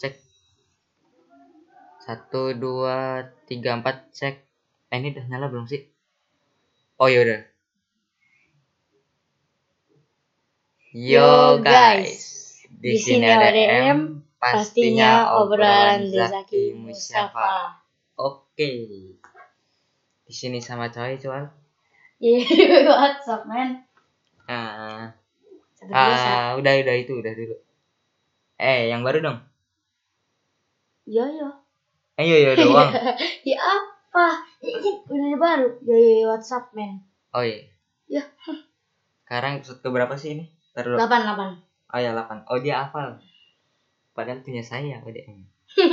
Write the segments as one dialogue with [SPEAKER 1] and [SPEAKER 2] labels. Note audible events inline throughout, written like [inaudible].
[SPEAKER 1] cek satu dua tiga empat cek eh, ini udah nyala belum sih oh ya udah yo guys di sini ada M pastinya obrolan Zaki Mustafa oke di sini sama cowok cuan
[SPEAKER 2] Iya, [laughs] WhatsApp men.
[SPEAKER 1] ah
[SPEAKER 2] Seperti biasa.
[SPEAKER 1] ah, udah udah itu udah dulu eh yang baru dong Eh, iya,
[SPEAKER 2] Yo yo.
[SPEAKER 1] ayo yo [laughs] doang
[SPEAKER 2] Ya apa? Ya, ya, udah baru. Yo yo yo, WhatsApp men.
[SPEAKER 1] oh iya
[SPEAKER 2] Ya.
[SPEAKER 1] sekarang ke berapa sih ini terus
[SPEAKER 2] Delapan delapan. [laughs]
[SPEAKER 1] oh ya 8 oh dia hafal padahal punya saya ODM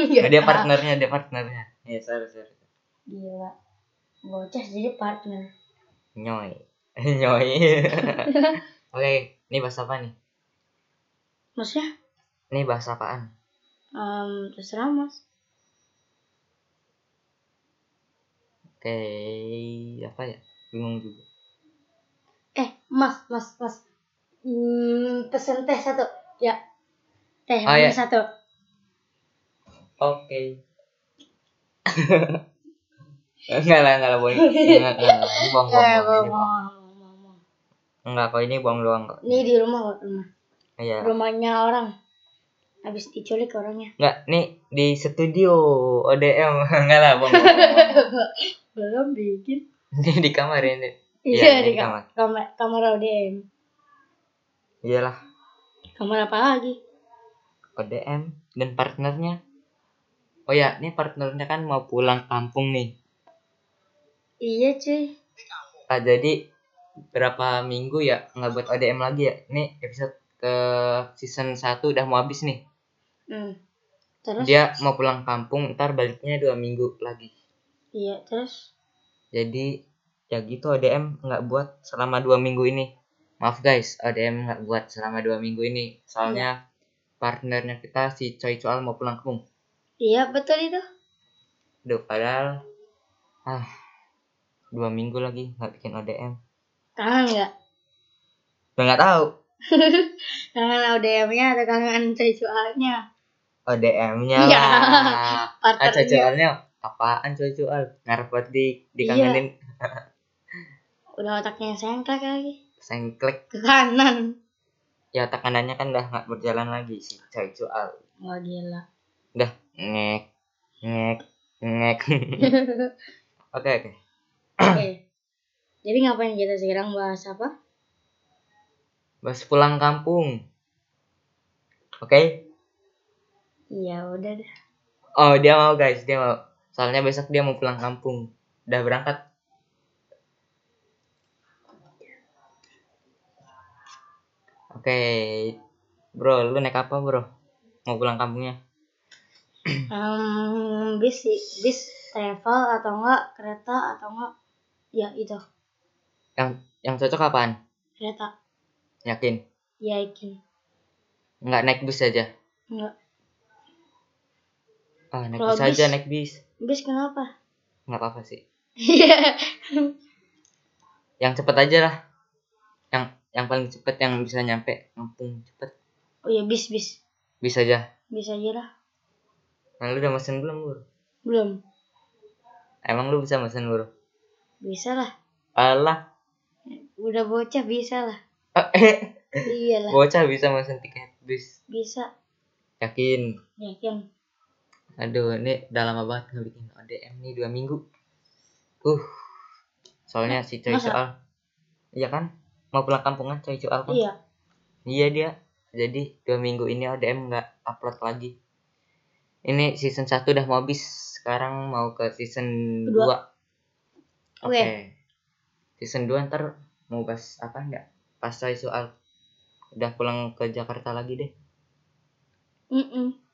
[SPEAKER 2] Iya,
[SPEAKER 1] oh,
[SPEAKER 2] ah.
[SPEAKER 1] dia partnernya dia partnernya ya sorry sorry
[SPEAKER 2] Gila. Bocah jadi partner.
[SPEAKER 1] nyoy [laughs]
[SPEAKER 2] [laughs]
[SPEAKER 1] nyoy oke ini bahas apa nih
[SPEAKER 2] Maksudnya?
[SPEAKER 1] ini bahas apaan
[SPEAKER 2] Um, terserah mas.
[SPEAKER 1] oke apa ya bingung juga
[SPEAKER 2] Eh, mas, mas, mas. Hmm, pesen teh satu. Ya. Teh
[SPEAKER 1] Oh,
[SPEAKER 2] manis
[SPEAKER 1] ya.
[SPEAKER 2] satu.
[SPEAKER 1] oke [laughs] enggak lah enggak lah boleh enggak enggak enggak. ini bohong bohong,
[SPEAKER 2] [laughs] Eh,
[SPEAKER 1] bohong, ini
[SPEAKER 2] mau,
[SPEAKER 1] bohong.
[SPEAKER 2] mau, mau, mau.
[SPEAKER 1] enggak kok ini bohong doang kok
[SPEAKER 2] Ini di rumah, kok, rumah.
[SPEAKER 1] iya
[SPEAKER 2] Rumahnya orang. Habis diculik orangnya.
[SPEAKER 1] enggak nih di studio [laughs] ODM enggak lah bohong, bohong, bohong.
[SPEAKER 2] Belum bikin.
[SPEAKER 1] Ini di kamar ini.
[SPEAKER 2] Iya,
[SPEAKER 1] ini
[SPEAKER 2] di kamar. Kamar, kamar ODM.
[SPEAKER 1] Iyalah,
[SPEAKER 2] Kamar apa lagi?
[SPEAKER 1] ODM dan partnernya. Oh ya, ini partnernya kan mau pulang kampung nih.
[SPEAKER 2] Iya cuy.
[SPEAKER 1] Ah, jadi berapa minggu ya nggak buat ODM lagi ya. Ini episode ke season 1 udah mau habis nih.
[SPEAKER 2] Hmm. Terus?
[SPEAKER 1] Dia mau pulang kampung, ntar baliknya dua minggu lagi.
[SPEAKER 2] Iya terus.
[SPEAKER 1] Jadi ya gitu ODM nggak buat selama dua minggu ini. Maaf guys, ODM nggak buat selama dua minggu ini. Soalnya partnernya kita si Choi Chual mau pulang kampung.
[SPEAKER 2] Iya betul itu.
[SPEAKER 1] Duh, padahal ah dua minggu lagi nggak bikin ODM.
[SPEAKER 2] Kangen nggak?
[SPEAKER 1] Udah nggak tahu
[SPEAKER 2] Kangen ODM-nya atau kangen sexualnya?
[SPEAKER 1] ODM-nya
[SPEAKER 2] Iya,
[SPEAKER 1] lah. ah,
[SPEAKER 2] Partnernya.
[SPEAKER 1] cocoalnya apaan cocoal? Ngarepot di dikangenin
[SPEAKER 2] Udah otaknya sengklek lagi.
[SPEAKER 1] sengklek.
[SPEAKER 2] Ke kanan.
[SPEAKER 1] Ya tekanannya kan udah nggak berjalan lagi si cocoal.
[SPEAKER 2] Wah gila. [laughs]
[SPEAKER 1] Udah ngek ngek ngek.
[SPEAKER 2] Oke.
[SPEAKER 1] Oke oke.
[SPEAKER 2] Jadi ngapain kita sekarang bahas apa?
[SPEAKER 1] Bas pulang kampung. Oke.
[SPEAKER 2] Iya udah deh.
[SPEAKER 1] Oh, dia mau guys, dia mau. Soalnya besok dia mau pulang kampung. Udah berangkat. Oke. Bro, lu naik apa, Bro? Mau pulang kampungnya?
[SPEAKER 2] Um, bis sih. bis travel atau enggak kereta atau enggak ya itu
[SPEAKER 1] Yang yang cocok apaan?
[SPEAKER 2] kereta
[SPEAKER 1] Yakin?
[SPEAKER 2] ya yakin
[SPEAKER 1] Nggak naik bus aja.
[SPEAKER 2] enggak
[SPEAKER 1] Ah, naik
[SPEAKER 2] Kalau
[SPEAKER 1] bus aja,
[SPEAKER 2] bis-
[SPEAKER 1] naik bis.
[SPEAKER 2] bis kenapa [laughs]
[SPEAKER 1] Nggak apa-apa sih.
[SPEAKER 2] iya
[SPEAKER 1] Yang cepet aja lah. Yang yang paling cepet yang bisa nyampe kampung cepet.
[SPEAKER 2] oh ya bis bis
[SPEAKER 1] Bis aja.
[SPEAKER 2] bis aja lah
[SPEAKER 1] Nah, lu udah mesen belum, Bro?
[SPEAKER 2] belum
[SPEAKER 1] Emang lu bisa mesen, Bro?
[SPEAKER 2] bisa lah
[SPEAKER 1] Alah.
[SPEAKER 2] udah bocah bisa lah
[SPEAKER 1] Eh. [laughs]
[SPEAKER 2] iyalah
[SPEAKER 1] Bocah bisa mesen tiket bis.
[SPEAKER 2] bisa Ya,
[SPEAKER 1] Yakin.
[SPEAKER 2] yakin
[SPEAKER 1] Aduh, ini udah lama banget nggak bikin ODM nih dua minggu. Uh, soalnya si Choi
[SPEAKER 2] masa?
[SPEAKER 1] Soal, iya kan? Mau pulang kampungan Choi Soal kan?
[SPEAKER 2] iya
[SPEAKER 1] Iya dia. Jadi dua minggu ini ODM nggak upload lagi. Ini season 1 udah mau habis. Sekarang mau ke season
[SPEAKER 2] Kedua.
[SPEAKER 1] 2.
[SPEAKER 2] Oh, iya.
[SPEAKER 1] Oke.
[SPEAKER 2] Oke.
[SPEAKER 1] Season 2 ntar mau bahas apa enggak? Pas Choi Soal udah pulang ke Jakarta lagi deh.
[SPEAKER 2] Mm-mm.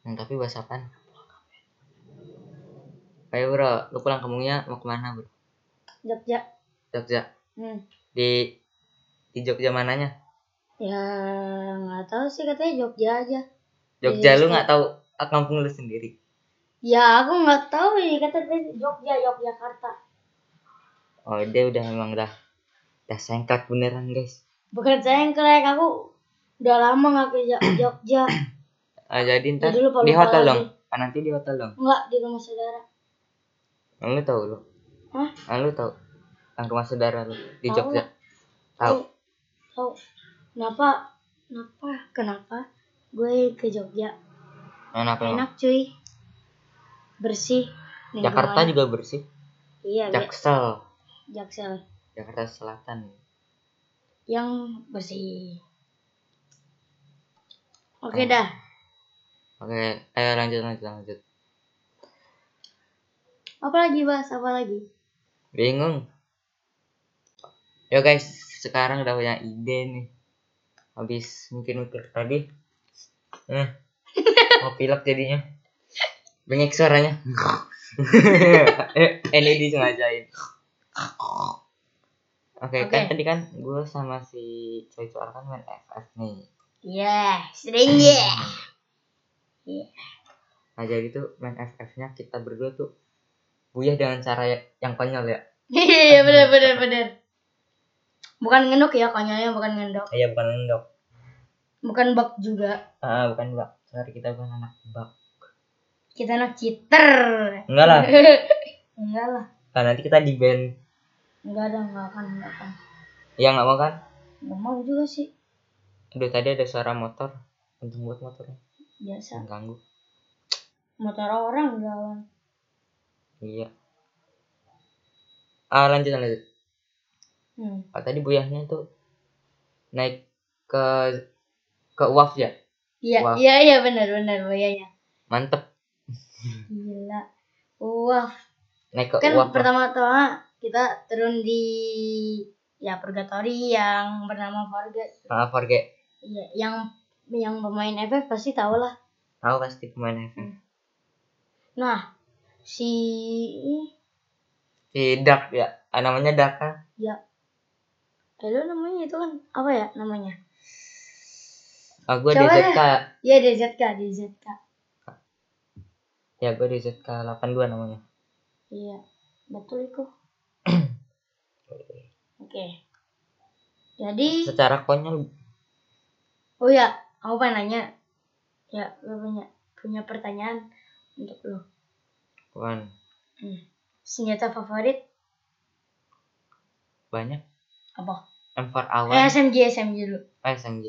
[SPEAKER 1] Hmm, tapi bahas apaan? Ayo bro, lu pulang kampungnya mau kemana bro?
[SPEAKER 2] Jogja
[SPEAKER 1] Jogja
[SPEAKER 2] hmm.
[SPEAKER 1] Di di Jogja mananya?
[SPEAKER 2] ya nggak tahu sih katanya Jogja aja
[SPEAKER 1] Jogja
[SPEAKER 2] Di-
[SPEAKER 1] lu nggak tahu ah, kampung lu sendiri
[SPEAKER 2] ya aku nggak tahu ini kata tadi Jogja Yogyakarta
[SPEAKER 1] Oh dia udah emang dah Dah sengkat beneran guys
[SPEAKER 2] bukan saya yang kerek aku udah lama nggak ke Jo- [coughs] Jogja
[SPEAKER 1] Ah, jadi ntar
[SPEAKER 2] Jadi lu lupa-
[SPEAKER 1] di
[SPEAKER 2] lupa
[SPEAKER 1] hotel
[SPEAKER 2] lagi.
[SPEAKER 1] dong. Ah, nanti di hotel dong.
[SPEAKER 2] Enggak di rumah saudara.
[SPEAKER 1] Ah, Lu tahu lu.
[SPEAKER 2] Hah?
[SPEAKER 1] Ah, lu tahu. Yang rumah saudara lu di
[SPEAKER 2] Tahu
[SPEAKER 1] Jogja.
[SPEAKER 2] lah.
[SPEAKER 1] Tahu.
[SPEAKER 2] Tahu. Kenapa? Kenapa? Kenapa? Gue ke Jogja.
[SPEAKER 1] Enak emang.
[SPEAKER 2] Enak cuy. Bersih.
[SPEAKER 1] Jakarta
[SPEAKER 2] lingkungan.
[SPEAKER 1] juga bersih.
[SPEAKER 2] Iya, Be.
[SPEAKER 1] Jaksel,
[SPEAKER 2] Jaksel.
[SPEAKER 1] Jakarta Selatan.
[SPEAKER 2] Yang bersih. Oke
[SPEAKER 1] Oh.
[SPEAKER 2] dah.
[SPEAKER 1] Oke, ayo lanjut lanjut lanjut.
[SPEAKER 2] Apa lagi, Bas? Apa lagi?
[SPEAKER 1] Bingung. Yo guys, sekarang udah punya ide nih. Habis mungkin mikir tadi. [laughs] Eh, mau pilek jadinya. Bengek [laughs] suaranya. eh, ini disengajain. Oke, kan
[SPEAKER 2] Oke.
[SPEAKER 1] tadi kan gue sama si Choi Chuan kan main FF nih.
[SPEAKER 2] Yeah, sering Iya. ya.
[SPEAKER 1] Nah, jadi tuh main FF-nya kita berdua tuh buyah dengan cara ya- yang konyol ya.
[SPEAKER 2] [laughs] Iya, bener bener bener. Bukan ngendok ya, konyolnya bukan ngendok.
[SPEAKER 1] Eh, Iya, bukan nendok.
[SPEAKER 2] Bukan bak juga.
[SPEAKER 1] Ah, bukan bak. Sorry, kita bukan anak bak.
[SPEAKER 2] Kita anak cheater.
[SPEAKER 1] Enggak lah.
[SPEAKER 2] enggak lah.
[SPEAKER 1] Nah, nanti kita di band
[SPEAKER 2] Enggak ada, enggak akan, enggak akan.
[SPEAKER 1] yang nggak mau kan?
[SPEAKER 2] Enggak mau juga sih.
[SPEAKER 1] Aduh, tadi ada suara motor. Untung buat motornya.
[SPEAKER 2] Biasa.
[SPEAKER 1] Mengganggu.
[SPEAKER 2] Motor orang jalan.
[SPEAKER 1] Iya. Ah, lanjut lanjut.
[SPEAKER 2] Hmm.
[SPEAKER 1] Ah, tadi buyahnya tuh naik ke ke uaf ya.
[SPEAKER 2] Iya,
[SPEAKER 1] Wah.
[SPEAKER 2] iya, iya bener bener boyanya.
[SPEAKER 1] Mantep.
[SPEAKER 2] Gila. Wah,
[SPEAKER 1] Naik ke
[SPEAKER 2] kan
[SPEAKER 1] uaf.
[SPEAKER 2] pertama-tama kita turun di ya purgatory yang bernama Forget.
[SPEAKER 1] Ah, forget.
[SPEAKER 2] Iya, yang yang pemain FF pasti tahu lah.
[SPEAKER 1] Tahu pasti kan? kemana.
[SPEAKER 2] Nah, si
[SPEAKER 1] Si Dark ya. Ah, namanya Dark kan?
[SPEAKER 2] ya eh, lu namanya itu kan apa ya namanya?
[SPEAKER 1] Ah, gue
[SPEAKER 2] Coba
[SPEAKER 1] DZK.
[SPEAKER 2] Iya DZK, DZK.
[SPEAKER 1] Ya, gue DZK 82 namanya.
[SPEAKER 2] Iya, betul itu. Oke. Jadi,
[SPEAKER 1] Secara konyol
[SPEAKER 2] oh ya, aku pengen nanya. Ya, gue punya punya pertanyaan untuk lu.
[SPEAKER 1] Wan,
[SPEAKER 2] Hmm. Senjata favorit
[SPEAKER 1] banyak
[SPEAKER 2] apa?
[SPEAKER 1] M4
[SPEAKER 2] Eh,
[SPEAKER 1] awan,
[SPEAKER 2] SMG, SMG dulu.
[SPEAKER 1] eh SMG.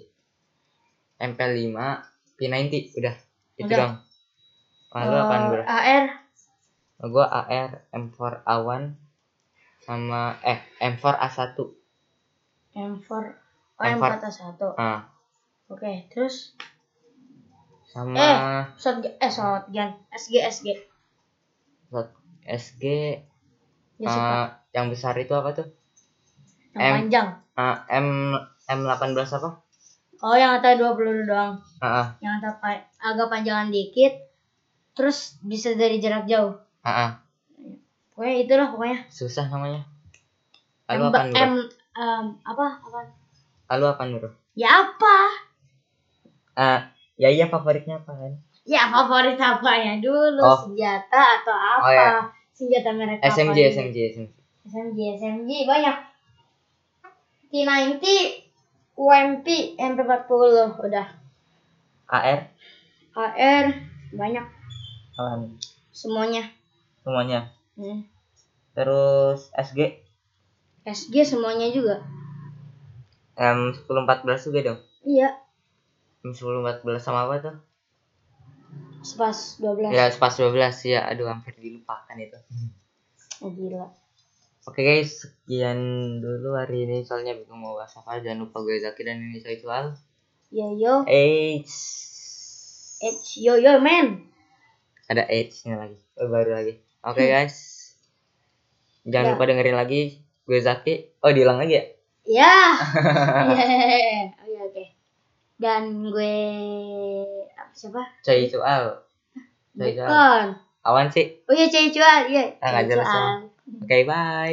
[SPEAKER 1] MP5, P90 udah. Itu
[SPEAKER 2] Udah.
[SPEAKER 1] dong. Kalau lu apaan bro?
[SPEAKER 2] Eh, AR,
[SPEAKER 1] Gua AR M4 awan sama eh M4 A1.
[SPEAKER 2] M4, oh,
[SPEAKER 1] M4.
[SPEAKER 2] M401.
[SPEAKER 1] Ah,
[SPEAKER 2] Oke, terus
[SPEAKER 1] sama
[SPEAKER 2] Eh. shotgun, eh shotgun, SG, SG.
[SPEAKER 1] buat SG
[SPEAKER 2] Ya,
[SPEAKER 1] ah,
[SPEAKER 2] suka.
[SPEAKER 1] yang besar itu apa tuh?
[SPEAKER 2] yang
[SPEAKER 1] M.
[SPEAKER 2] panjang.
[SPEAKER 1] Ah, M M18 apa?
[SPEAKER 2] Oh, yang atas 20 doang.
[SPEAKER 1] Ah, ah,
[SPEAKER 2] Yang atas pa- agak panjangan dikit. Terus bisa dari jarak jauh.
[SPEAKER 1] ah, ah.
[SPEAKER 2] Pokoknya itulah pokoknya.
[SPEAKER 1] susah namanya.
[SPEAKER 2] M,
[SPEAKER 1] Lalu apaan bro?
[SPEAKER 2] M, em, apa? Apa?
[SPEAKER 1] Lalu apaan bro?
[SPEAKER 2] Ya apa?
[SPEAKER 1] Ah, ya iya favoritnya apaan?
[SPEAKER 2] Ya favorit apanya dulu?
[SPEAKER 1] Oh.
[SPEAKER 2] Senjata atau apa?
[SPEAKER 1] Oh, ya.
[SPEAKER 2] Senjata merek apa?
[SPEAKER 1] SMG,
[SPEAKER 2] ini?
[SPEAKER 1] SMG, SMG.
[SPEAKER 2] SMG, SMG banyak. T90, UMP, MP40 udah.
[SPEAKER 1] AR
[SPEAKER 2] AR banyak
[SPEAKER 1] apaan?
[SPEAKER 2] semuanya.
[SPEAKER 1] Semuanya.
[SPEAKER 2] Hmm.
[SPEAKER 1] Terus SG
[SPEAKER 2] SG semuanya juga.
[SPEAKER 1] M1014 juga dong.
[SPEAKER 2] Iya,
[SPEAKER 1] M1014 sama apa tuh?
[SPEAKER 2] sepas 12.
[SPEAKER 1] Ya, pas 12 ya. Aduh, hampir dilupakan itu.
[SPEAKER 2] Oh, gila.
[SPEAKER 1] Oke guys, sekian dulu hari ini soalnya bingung mau bahas apa. Jangan lupa gue Zaki dan ini saya Iqbal.
[SPEAKER 2] Yo yo,
[SPEAKER 1] H
[SPEAKER 2] it's yo yo man.
[SPEAKER 1] ada H-nya lagi. Oh, baru lagi. Oke guys. Jangan
[SPEAKER 2] Ya.
[SPEAKER 1] lupa dengerin lagi gue Zaki. Oh, diulang lagi ya?
[SPEAKER 2] Ya.
[SPEAKER 1] [laughs]
[SPEAKER 2] [laughs] Yeah. Oke oke. Dan gue apa siapa?
[SPEAKER 1] Coy Soal. Coy Soal.
[SPEAKER 2] Bukan.
[SPEAKER 1] Awan sih.
[SPEAKER 2] Oh iya Cai Cuan, iya.
[SPEAKER 1] Ah, nggak
[SPEAKER 2] Cai
[SPEAKER 1] jelas
[SPEAKER 2] Cuan.
[SPEAKER 1] ya. Oke, bye.